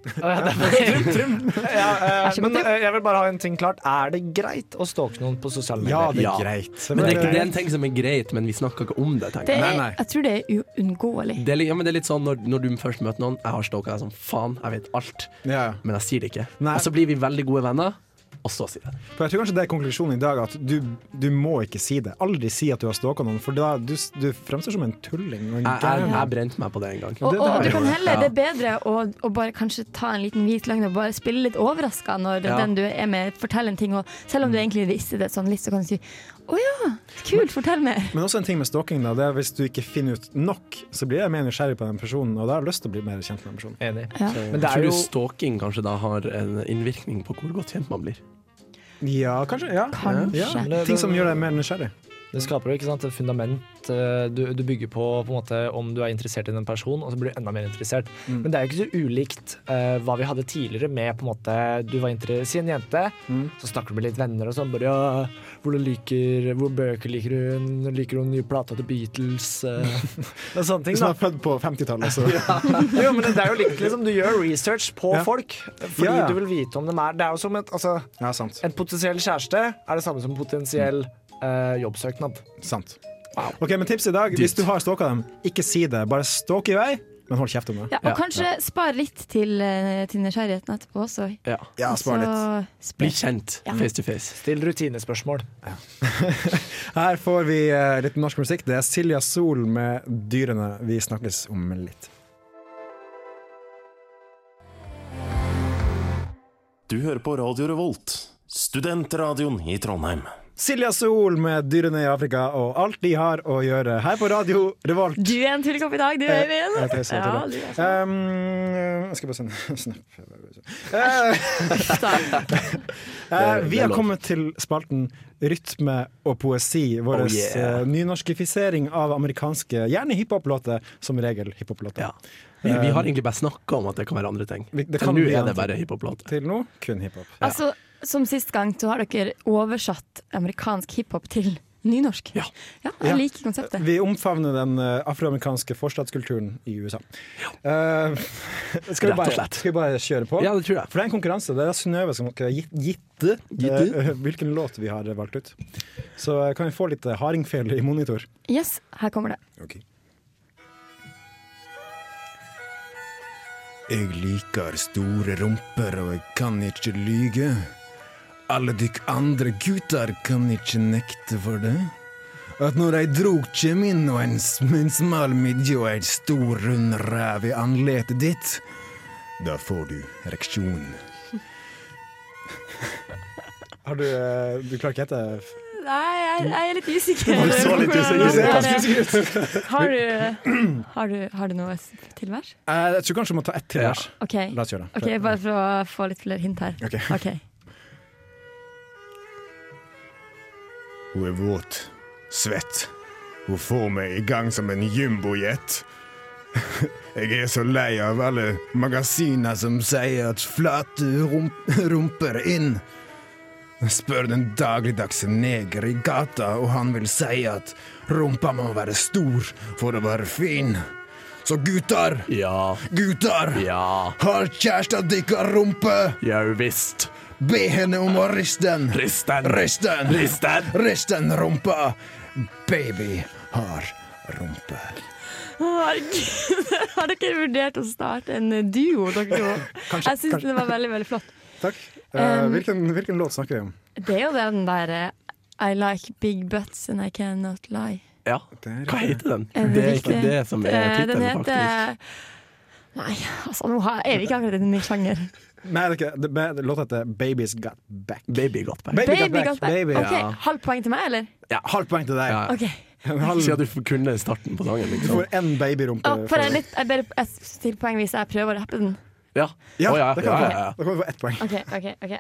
Speaker 4: Ja, eh,
Speaker 3: Vær så god,
Speaker 4: men
Speaker 3: Tim.
Speaker 4: eh, jeg vil bare ha en ting klart. Er det greit å stalke noen på sosiale
Speaker 2: Ja, det er
Speaker 4: medier?
Speaker 5: Ja.
Speaker 2: greit.
Speaker 5: Men det er, ikke, det er en ting som er greit, men vi snakker ikke om det. tenker
Speaker 3: Det
Speaker 5: jeg.
Speaker 3: er,
Speaker 2: Nei, nei.
Speaker 3: Jeg tror det er uunngåelig.
Speaker 5: Det er, litt- ja, men det er litt sånn når, når du først møter noen Jeg har stalka deg som faen, jeg vet alt,
Speaker 2: Ja, ja.
Speaker 5: men jeg sier det ikke.
Speaker 2: Nei.
Speaker 5: Og så blir vi veldig gode venner, og så sier jeg det.
Speaker 2: For jeg tror kanskje det er konklusjonen i dag, at du, du må ikke si det. Aldri si at du har stalka noen, for da, du, du fremstår som en tulling. Og en
Speaker 5: Jeg, jeg, jeg brente meg på det en gang.
Speaker 3: Og,
Speaker 2: det- det
Speaker 3: og,
Speaker 2: har
Speaker 3: du
Speaker 2: jeg
Speaker 3: kan
Speaker 2: gjort.
Speaker 3: heller, Det er bedre å, å bare kanskje ta en liten hvit løgn og bare spille litt overraska når
Speaker 5: Ja.
Speaker 3: den du er med, forteller en ting. Og selv om du egentlig visste det sånn litt, så kan du si å ja, kult, fortell mer.
Speaker 2: Mm. Men også en ting med stalking, da, det er hvis du ikke finner ut nok, så blir jeg mer nysgjerrig på den personen, og da har jeg lyst til å bli mer kjent med den personen.
Speaker 4: Enig.
Speaker 3: Ja.
Speaker 4: Men det
Speaker 5: Tror
Speaker 4: er
Speaker 5: du
Speaker 4: jo
Speaker 5: stalking kanskje da har en innvirkning på hvor godt kjent man blir?
Speaker 2: Ja, kanskje. Ja.
Speaker 3: Kanskje.
Speaker 2: Ja, Ting som gjør deg mer nysgjerrig.
Speaker 4: Det skaper jo ikke sant, et fundament eh, du, du bygger på, på en måte, om du er interessert i den personen, og så blir du enda mer interessert.
Speaker 2: Mm.
Speaker 4: Men det er jo ikke så ulikt eh, hva vi hadde tidligere med på en måte, du var interessert Si en jente,
Speaker 2: Mm.
Speaker 4: så snakker du med litt venner og sånn. bare, ja, hvor, du liker, hvor bøker liker hun? Liker hun nye plata til Beatles?
Speaker 2: [laughs]
Speaker 4: eh, og sånne ting.
Speaker 2: Hvis man
Speaker 4: da.
Speaker 2: er født på 50-tallet, så
Speaker 4: Jo, men det er jo likt, liksom, Du gjør research på
Speaker 2: Ja.
Speaker 4: folk fordi
Speaker 2: Ja, ja.
Speaker 4: du vil vite om dem er Det er jo som et altså,
Speaker 2: [laughs] Ja, sant.
Speaker 4: En potensiell kjæreste er det samme som potensiell eh, jobbsøknad.
Speaker 2: sant. Ok, Men tipset i dag, hvis du har stalka dem, ikke si det. Bare stalk i vei, men hold kjeft om det.
Speaker 3: Ja, og kanskje spar litt til, eh, til nysgjerrigheten etterpå også.
Speaker 5: Ja.
Speaker 2: Ja, spar
Speaker 3: altså,
Speaker 2: litt.
Speaker 3: Så
Speaker 5: Bli
Speaker 3: spre-
Speaker 5: kjent
Speaker 3: Ja.
Speaker 5: face to face.
Speaker 4: Still rutinespørsmål.
Speaker 2: Her får vi eh, litt norsk musikk. Det er Silja Sol med 'Dyrene'. Vi snakkes om litt.
Speaker 8: Du hører på Radio Revolt, studentradioen i Trondheim.
Speaker 2: Silja Sol med 'Dyrene i Afrika' og alt de har å gjøre her på radio Revolt.
Speaker 3: Du er en tullkopp i dag, du, Øyvind.
Speaker 2: Eh, Jeg tøyser
Speaker 3: Ja,
Speaker 2: til
Speaker 3: du
Speaker 2: det.
Speaker 3: er så-
Speaker 2: Um, jeg skal bare sende [laughs] en snap. [laughs] Eh, eh, vi
Speaker 5: det er
Speaker 2: har
Speaker 5: lov.
Speaker 2: kommet til spalten Rytme og poesi. Vår
Speaker 5: Oh, yeah.
Speaker 2: eh, nynorskifisering av amerikanske, gjerne hiphop-låter, som regel hiphop-låter.
Speaker 5: Ja. Vi, vi
Speaker 6: Um,
Speaker 5: har egentlig bare snakka om at det kan være andre ting.
Speaker 2: Vi- det
Speaker 5: For
Speaker 2: kan
Speaker 5: nå
Speaker 2: bli
Speaker 5: er
Speaker 2: andre
Speaker 5: det bare
Speaker 2: ting.
Speaker 5: hiphop-låter.
Speaker 2: Til nå kun hiphop.
Speaker 3: Altså, som sist gang så har dere oversatt amerikansk hiphop til nynorsk.
Speaker 5: Ja.
Speaker 3: jeg
Speaker 2: Ja.
Speaker 3: liker konseptet.
Speaker 2: Vi omfavner den eh, afroamerikanske forstatskulturen i USA. Eh, [laughs] skal, vi
Speaker 5: Rett og
Speaker 2: bare,
Speaker 5: slett.
Speaker 2: skal vi bare kjøre på?
Speaker 5: Ja, det tror jeg.
Speaker 2: For det er en konkurranse. Det er Synnøve som har gitt, gitt det,
Speaker 5: Gitt
Speaker 2: eh, [laughs] hvilken låt vi har valgt ut. Så eh, kan vi få litt eh, hardingfele i monitor.
Speaker 3: Yes, her kommer det.
Speaker 6: Jeg liker store rumper, og jeg kan ikke lyge. Alle dykk andre gutter kan ikke nekte for det. At når ei drog kjem inn, og en, s- med en smal midje og ei stor, rund ræv i anletet ditt, da får du ereksjon.
Speaker 2: Har du, eh, du klarer ikke hete
Speaker 3: Nei, jeg, jeg er litt usikker.
Speaker 2: Du så litt usikker ut.
Speaker 3: Det er-
Speaker 2: Ganske usikker ut.
Speaker 3: Har
Speaker 2: [clears throat]
Speaker 3: du, har du, har du noe s- til vers?
Speaker 2: Eh, Jeg tror kanskje jeg må ta ett til vers.
Speaker 3: OK,
Speaker 2: La oss gjøre det.
Speaker 3: Ok, bare for å få litt flere hint her.
Speaker 2: Ok.
Speaker 3: Ok.
Speaker 6: Hun er våt. Svett. Hun får meg i gang som en jumbojet. [laughs] Jeg er så lei av alle magasiner som sier at flate rump rumper inn. Spør den dagligdagse neger i gata, og han vil si at rumpa må være stor for å være fin. Så gutter,
Speaker 5: Ja.
Speaker 6: gutter,
Speaker 5: Ja.
Speaker 6: har kjæresten deres rumpe?
Speaker 5: Jau visst.
Speaker 6: Be henne om å riste den.
Speaker 5: Rist den.
Speaker 6: Rist den.
Speaker 5: Rist den.
Speaker 6: Rist den rumpa. Baby har rumpe.
Speaker 3: Å, Herregud, [laughs] har dere vurdert å starte en eh, duo, dere to? Jeg syns det var veldig veldig flott.
Speaker 2: Takk. Eh,
Speaker 3: Um,
Speaker 2: hvilken, hvilken låt snakker vi om?
Speaker 3: Det er jo den der eh, I like big butts and I cannot lie.
Speaker 5: Ja.
Speaker 2: Der,
Speaker 5: Hva heter den?
Speaker 3: Er det
Speaker 5: Det er
Speaker 3: riktig?
Speaker 5: ikke det som er
Speaker 3: Eh, Den
Speaker 5: tittelen, faktisk.
Speaker 3: heter Nei, altså nå har- er vi ikke akkurat i min sjanger.
Speaker 2: Nei, det er ikke det. det. det- Låta heter 'Baby's Got Back'.
Speaker 5: Baby got back.
Speaker 2: Baby,
Speaker 3: Baby got back.
Speaker 2: Baby.
Speaker 3: Ok, Halvt poeng til meg, eller?
Speaker 2: Ja, halvt poeng til deg.
Speaker 5: Ja.
Speaker 3: Ok,
Speaker 2: En halv,
Speaker 5: Si at du kunne starten på sangen,
Speaker 2: du
Speaker 5: liksom.
Speaker 2: får én babyrumpe.
Speaker 3: Å, får jeg litt jeg bare, jeg stiller poeng hvis jeg prøver å rappe den?
Speaker 5: Ja.
Speaker 2: Ja,
Speaker 5: Å, ja,
Speaker 2: det kan du
Speaker 5: ja,
Speaker 2: få.
Speaker 5: ja, ja.
Speaker 2: Da kan du få ett poeng.
Speaker 3: OK, OK. ok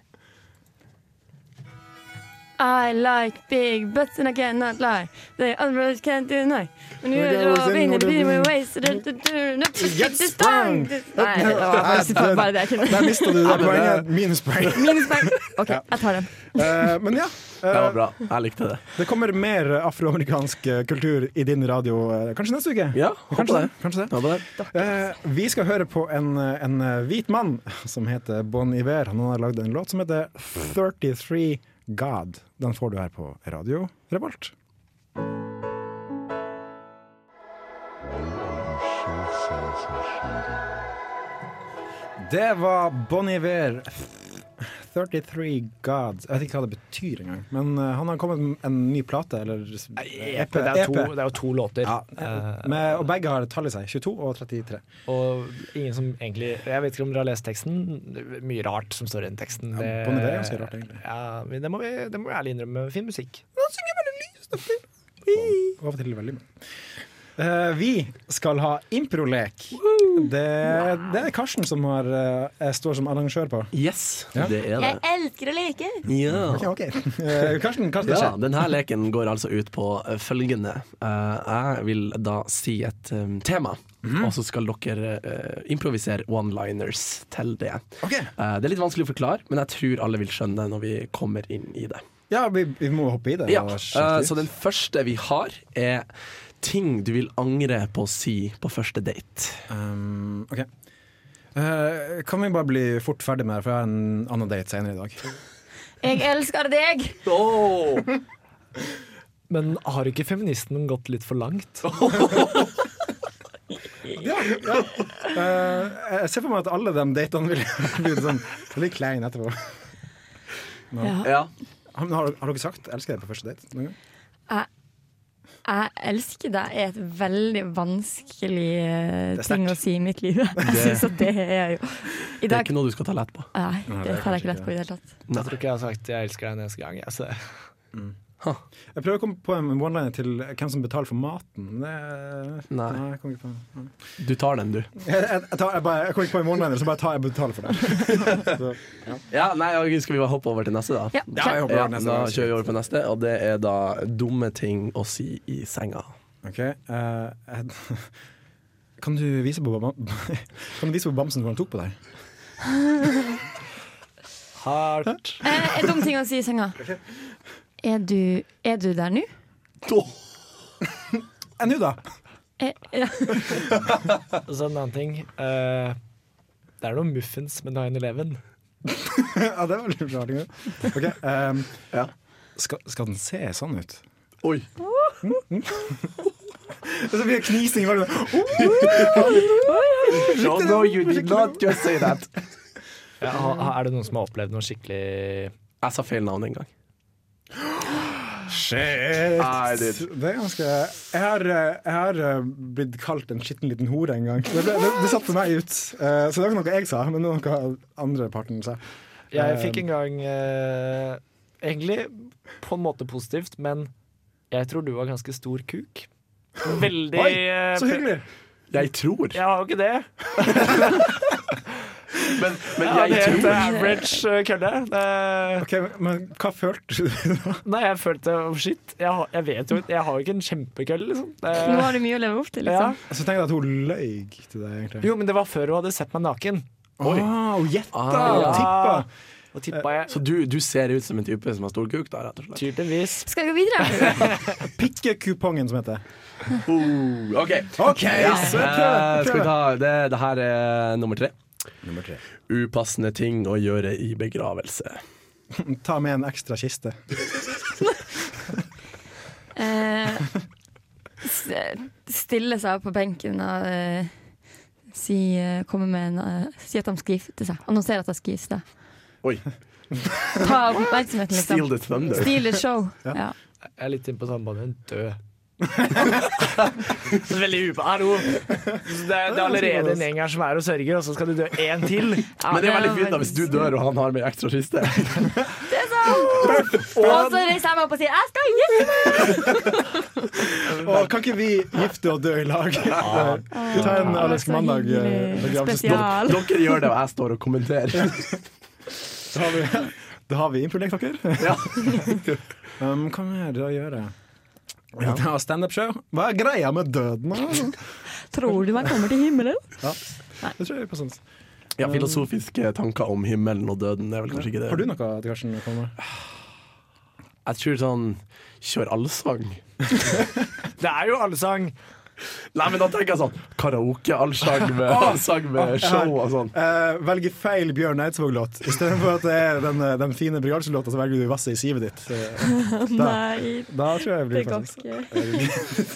Speaker 3: I like big butts and I cannot lie. The other brothers can't do no. When
Speaker 2: When I
Speaker 3: you're
Speaker 2: was in
Speaker 3: rubbing the
Speaker 2: order-
Speaker 3: beat my waist du- du- du- du-
Speaker 2: Yes,
Speaker 3: du- stang. Nei, det var faktisk bare det
Speaker 2: [laughs]
Speaker 3: jeg
Speaker 2: Der
Speaker 3: kunne.
Speaker 2: mista du det
Speaker 5: men
Speaker 2: poenget. Minuspoeng.
Speaker 3: Minuspoeng. OK, jeg tar den.
Speaker 2: Eh, men ja.
Speaker 5: [laughs] Det
Speaker 2: eh,
Speaker 5: var bra. Jeg likte det.
Speaker 2: det kommer mer afroamerikansk eh, kultur i din radio eh, kanskje neste uke.
Speaker 5: Ja,
Speaker 2: Kanskje
Speaker 5: håper
Speaker 2: det.
Speaker 5: det.
Speaker 2: Kanskje det.
Speaker 5: Håper det.
Speaker 2: Eh, vi skal høre på en, en hvit mann som heter Bon Iver. Han har lagd en låt som heter 33 God. Den får du her på Radio Revolt. Det var Bon Iver. 33 Gods. Jeg vet ikke hva det betyr engang. Men eh, han har kommet med en ny plate, eller E EP.
Speaker 4: E Det er, to, det er jo to låter.
Speaker 2: Ja,
Speaker 4: Eh,
Speaker 2: med, og begge har et tall i seg. 22 og 33.
Speaker 4: og ingen som egentlig Jeg vet ikke om dere har lest teksten. Mye rart som står i den teksten.
Speaker 2: Ja, Bon Iver er ganske rart, egentlig.
Speaker 4: Ja, men det må vi, det må vi ærlig innrømme. Fin musikk.
Speaker 2: Og av og til veldig mye. Eh, vi skal ha improlek. Det, det er Karsten som har, eh, jeg står som arrangør på.
Speaker 5: Yes,
Speaker 2: Ja.
Speaker 5: det er det.
Speaker 3: elsker å leke.
Speaker 5: Ja.
Speaker 2: Ok, ok. [laughs] Eh, Karsten, hva skal
Speaker 5: Ja,
Speaker 2: skje?
Speaker 5: denne leken går altså ut på eh, følgende. Eh, jeg vil da si et eh, tema, og så skal dere eh, improvisere one-liners til det.
Speaker 2: Ok.
Speaker 5: Eh, det er litt vanskelig å forklare, men jeg tror alle vil skjønne det når vi kommer inn i det.
Speaker 2: Ja, vi, vi må hoppe i det.
Speaker 5: Ja,
Speaker 2: og
Speaker 5: eh,
Speaker 2: sjekke ut.
Speaker 5: Så den første vi har, er ting du vil angre på å si på første date.
Speaker 2: Um, ok. Eh, kan vi bare bli fort ferdig med det, for jeg har en annen date senere i dag.
Speaker 3: Jeg elsker deg.
Speaker 4: Men har ikke feministen gått litt for langt?
Speaker 2: Eh, jeg ser for meg at alle de datene vil [laughs] bli sånn litt klein etterpå.
Speaker 5: Ja.
Speaker 2: Har, har dere sagt 'elsker deg' på første date? noen gang?
Speaker 3: Jeg elsker deg er et veldig vanskelig eh,
Speaker 2: Det er
Speaker 3: ting
Speaker 2: sterkt.
Speaker 3: å si i mitt liv. [laughs] Jeg syns at det er jo I
Speaker 5: Det er
Speaker 3: dag
Speaker 5: ikke noe du skal ta lett på.
Speaker 3: Nei,
Speaker 2: Nei,
Speaker 3: det
Speaker 2: det er
Speaker 3: tar jeg ikke
Speaker 2: kanskje
Speaker 3: lett på i det hele tatt.
Speaker 4: Jeg tror ikke jeg har sagt 'jeg elsker deg' neste gang. Jeg, så.
Speaker 2: Jeg prøver å komme på en one-liner til hvem som betaler for maten. men Det,
Speaker 5: Nei.
Speaker 2: jeg kom ikke på den.
Speaker 5: Du tar den, du.
Speaker 2: Jeg, jeg, jeg, tar, jeg, bare, jeg kommer ikke på en one-liner, så bare tar jeg og betaler for det. Så,
Speaker 5: Ja, nei, ok, Skal vi bare hoppe over til neste, da?
Speaker 3: Ja,
Speaker 2: ja, jeg håper det
Speaker 5: Ja,
Speaker 2: var
Speaker 5: da
Speaker 2: neste gang.
Speaker 5: kjører vi over på neste, og det er da dumme ting å si i senga.
Speaker 2: Ok, eh, jeg- [laughs] kan du vise på bam- [laughs] Kan du vise på bamsen hvor han tok på deg?
Speaker 4: Hardt.
Speaker 3: Eh, en dum ting å si i senga. Er du, er du der nå?
Speaker 2: Eh, Nå, da! [laughs]
Speaker 3: Eh, ja.
Speaker 4: Og så en annen ting. eh, det er noen muffins med 9-11.
Speaker 2: Ja, det var litt rart. ikke? Ok, ehm,
Speaker 5: Ja.
Speaker 2: skal, skal den se sånn ut?
Speaker 5: Oi.
Speaker 2: Og så blir det knising i hver
Speaker 5: No, no, you did not just say that.
Speaker 4: Ja, ha- ha- er det noen som har opplevd noe skikkelig
Speaker 5: Jeg sa feil navn en [laughs] gang.
Speaker 2: Shit!
Speaker 5: Nei,
Speaker 2: det
Speaker 5: det-
Speaker 2: er ganske Jeg har, eh, jeg har eh, blitt kalt en skitten liten hore en gang. Det, ble, det, det satte meg ut. Eh, Så det var ikke noe jeg sa, men det var noe andre parten sa.
Speaker 4: Jeg fikk en gang eh, egentlig på en måte positivt, men jeg tror du var ganske stor kuk. Veldig
Speaker 2: Oi,
Speaker 4: eh,
Speaker 2: Så hyggelig!
Speaker 5: Jeg tror.
Speaker 4: Jeg har jo ikke det.
Speaker 5: Men, men
Speaker 4: Jeg
Speaker 5: jeg
Speaker 4: er helt
Speaker 5: tror.
Speaker 4: average eh, kølle. Det-
Speaker 2: Ok, Men hva følte du [laughs] da?
Speaker 4: Nei, jeg følte oh, shit. Jeg, har- jeg vet jo ikke- Jeg har jo ikke en kjempekølle, liksom.
Speaker 3: Nå
Speaker 4: Det-
Speaker 3: har du mye å leve opp til,
Speaker 4: Ja.
Speaker 3: liksom.
Speaker 2: Så tenkte jeg at hun løy til deg, egentlig.
Speaker 4: Jo, men det var før hun hadde sett meg naken.
Speaker 5: Oi.
Speaker 2: Ah, hun gjetta!
Speaker 5: Ah,
Speaker 2: hun
Speaker 4: ja.
Speaker 2: tippa.
Speaker 4: Og tippa jeg
Speaker 5: Så du, du ser ut som en type som har stor kuk, da, rett og slett.
Speaker 4: tydeligvis
Speaker 3: Skal jeg gå videre?
Speaker 2: Pikkekupongen, som heter.
Speaker 5: Oh, OK.
Speaker 2: OK!
Speaker 5: Ja.
Speaker 2: så prøv,
Speaker 5: Eh, skal vi
Speaker 2: prøv.
Speaker 5: ta det, det her er nummer tre.
Speaker 6: Nummer tre.
Speaker 5: Upassende ting å gjøre i begravelse.
Speaker 2: Ta med en ekstra kiste.
Speaker 3: Eh, s- eh, stille seg på benken og eh, si, eh, komme med en, eh, si at de skal gifte seg. Annonsere at de skal gifte seg.
Speaker 5: Oi.
Speaker 3: Ta oppmerksomheten,
Speaker 5: Steal
Speaker 3: liksom.
Speaker 5: the thunder.
Speaker 3: Steal the show. Ja.
Speaker 4: Jeg er litt inne på sambandet. Død. Så Veldig upa. Hallo! Så Det er, det er allerede en gjeng her som er og sørger, og så skal du dø én til.
Speaker 3: Ja,
Speaker 5: Men det er veldig
Speaker 3: var
Speaker 5: fint da hvis du dør og han har med ekstra kiste.
Speaker 3: Og så reiser jeg meg opp og sier 'jeg skal gifte meg'!
Speaker 2: Og kan ikke vi gifte og dø i lag? [laughs] Vi tar en Alex
Speaker 3: Ah, så
Speaker 2: Mandag eh,
Speaker 3: hyggelig.
Speaker 2: begravelsesdag.
Speaker 3: Spesial.
Speaker 5: Dere gjør det, og jeg står og kommenterer.
Speaker 2: Da har vi, [laughs] da har vi improvisert, [laughs] dere.
Speaker 5: Ja.
Speaker 2: Um, hva mer da gjør jeg? Ja. ta Standup-show. Hva er greia med døden? da?
Speaker 3: Tror du man kommer til himmelen?
Speaker 2: Det tror jeg er på sånt.
Speaker 5: Ja, Filosofiske tanker om himmelen og døden det er vel kanskje ikke det.
Speaker 2: Har du noe til Karsten? å komme med?
Speaker 5: Jeg tror sånn Kjør allsang.
Speaker 4: Det er jo allsang.
Speaker 5: Nei, men da tenker jeg sånn karaoke-allsang med, sang med show og sånn.
Speaker 2: Eh, velge feil Bjørn Eidsvåg-låt. Istedenfor at det er den, eh, den fine brigalselåta, så velger du Vasse i sivet ditt. Eh, Da,
Speaker 3: Nei,
Speaker 2: da tror jeg jeg
Speaker 3: det
Speaker 2: blir
Speaker 3: går
Speaker 2: faktisk
Speaker 3: ikke.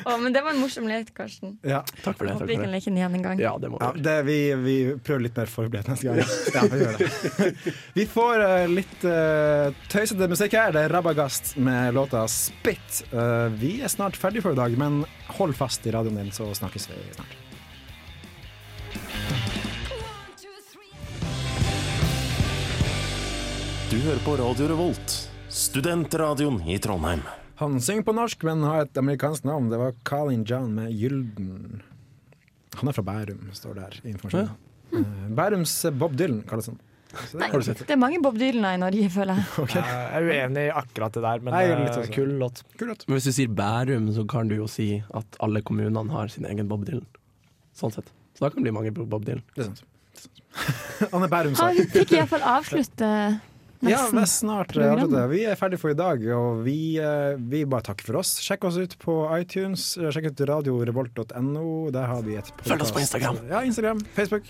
Speaker 3: Å, men det var en morsom lek, Karsten.
Speaker 2: ja.
Speaker 5: Takk for det.
Speaker 3: Håper
Speaker 5: Takk
Speaker 3: vi
Speaker 5: for
Speaker 3: kan
Speaker 5: det.
Speaker 3: leke den igjen en gang.
Speaker 5: Ja, det må
Speaker 2: Ja,
Speaker 5: vi.
Speaker 2: det, vi, vi prøver litt mer forberedt neste gang. [laughs] Ja, vi gjør det. Vi får eh, litt eh, tøysete musikk her. Det er Rabagast med låta 'Spit'. Eh, vi er snart ferdig for i dag, men hold fast i radioen din, så snakkes vi snart.
Speaker 8: Du hører på Radio Revolt, studentradioen i Trondheim.
Speaker 2: Han synger på norsk, men har et amerikansk navn. Det var Colin John med Gylden. Han er fra Bærum, står det her i informasjonen. Eh, Bærums Bob Dylan kalles han. Så det-
Speaker 5: Har du sett?
Speaker 3: Det er mange Bob Dylaner i Norge, føler jeg.
Speaker 4: Eh, Jeg er uenig i akkurat det der, men
Speaker 2: Nei, jeg er
Speaker 4: eh,
Speaker 2: litt sånn. også.
Speaker 4: kul låt.
Speaker 2: Kul låt.
Speaker 5: Men hvis du sier Bærum, så kan du jo si at alle kommunene har sin egen Bob Dylan. Sånn sett. Så da kan det bli mange Bob Dylan.
Speaker 2: Det er sant. Det er sant. Han er Bærums sak.
Speaker 3: Han fikk iallfall avslutte
Speaker 2: Ja,
Speaker 3: messen.
Speaker 2: men snart. eh,
Speaker 3: Program.
Speaker 2: avslutter. Vi er ferdig for i dag, og vi, eh, vi bare takker for oss. Sjekk oss ut på iTunes, eh, sjekk ut radiorevolt.no. Der har vi et podcast.
Speaker 5: Følg oss på Instagram.
Speaker 2: Ja, Instagram, Facebook.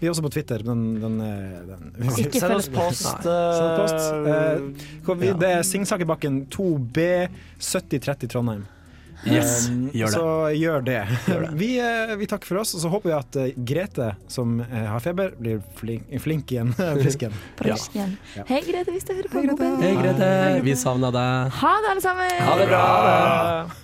Speaker 2: Vi er også på Twitter, men den, er- den,
Speaker 5: [laughs]
Speaker 3: Ikke
Speaker 4: Send
Speaker 3: følg-
Speaker 4: oss post.
Speaker 2: Send oss post.
Speaker 4: eh,
Speaker 2: Eh, hvor vi, Det er Singsakerbakken 2B 7030 Trondheim.
Speaker 5: Yes,
Speaker 2: Um,
Speaker 5: gjør det.
Speaker 2: Så gjør det.
Speaker 5: Gjør det.
Speaker 2: [laughs] Vi, eh, vi takker for oss, og så håper vi at eh, Grete, som eh, har feber, blir flink, flink igjen. [laughs] Frisk igjen.
Speaker 5: Ja.
Speaker 3: Praktisk igjen. Hei, Grete, hvis du hører på.
Speaker 5: Hei, Grete. Vi savna deg.
Speaker 3: Ha det, alle sammen.
Speaker 5: Ha det bra.
Speaker 4: eh,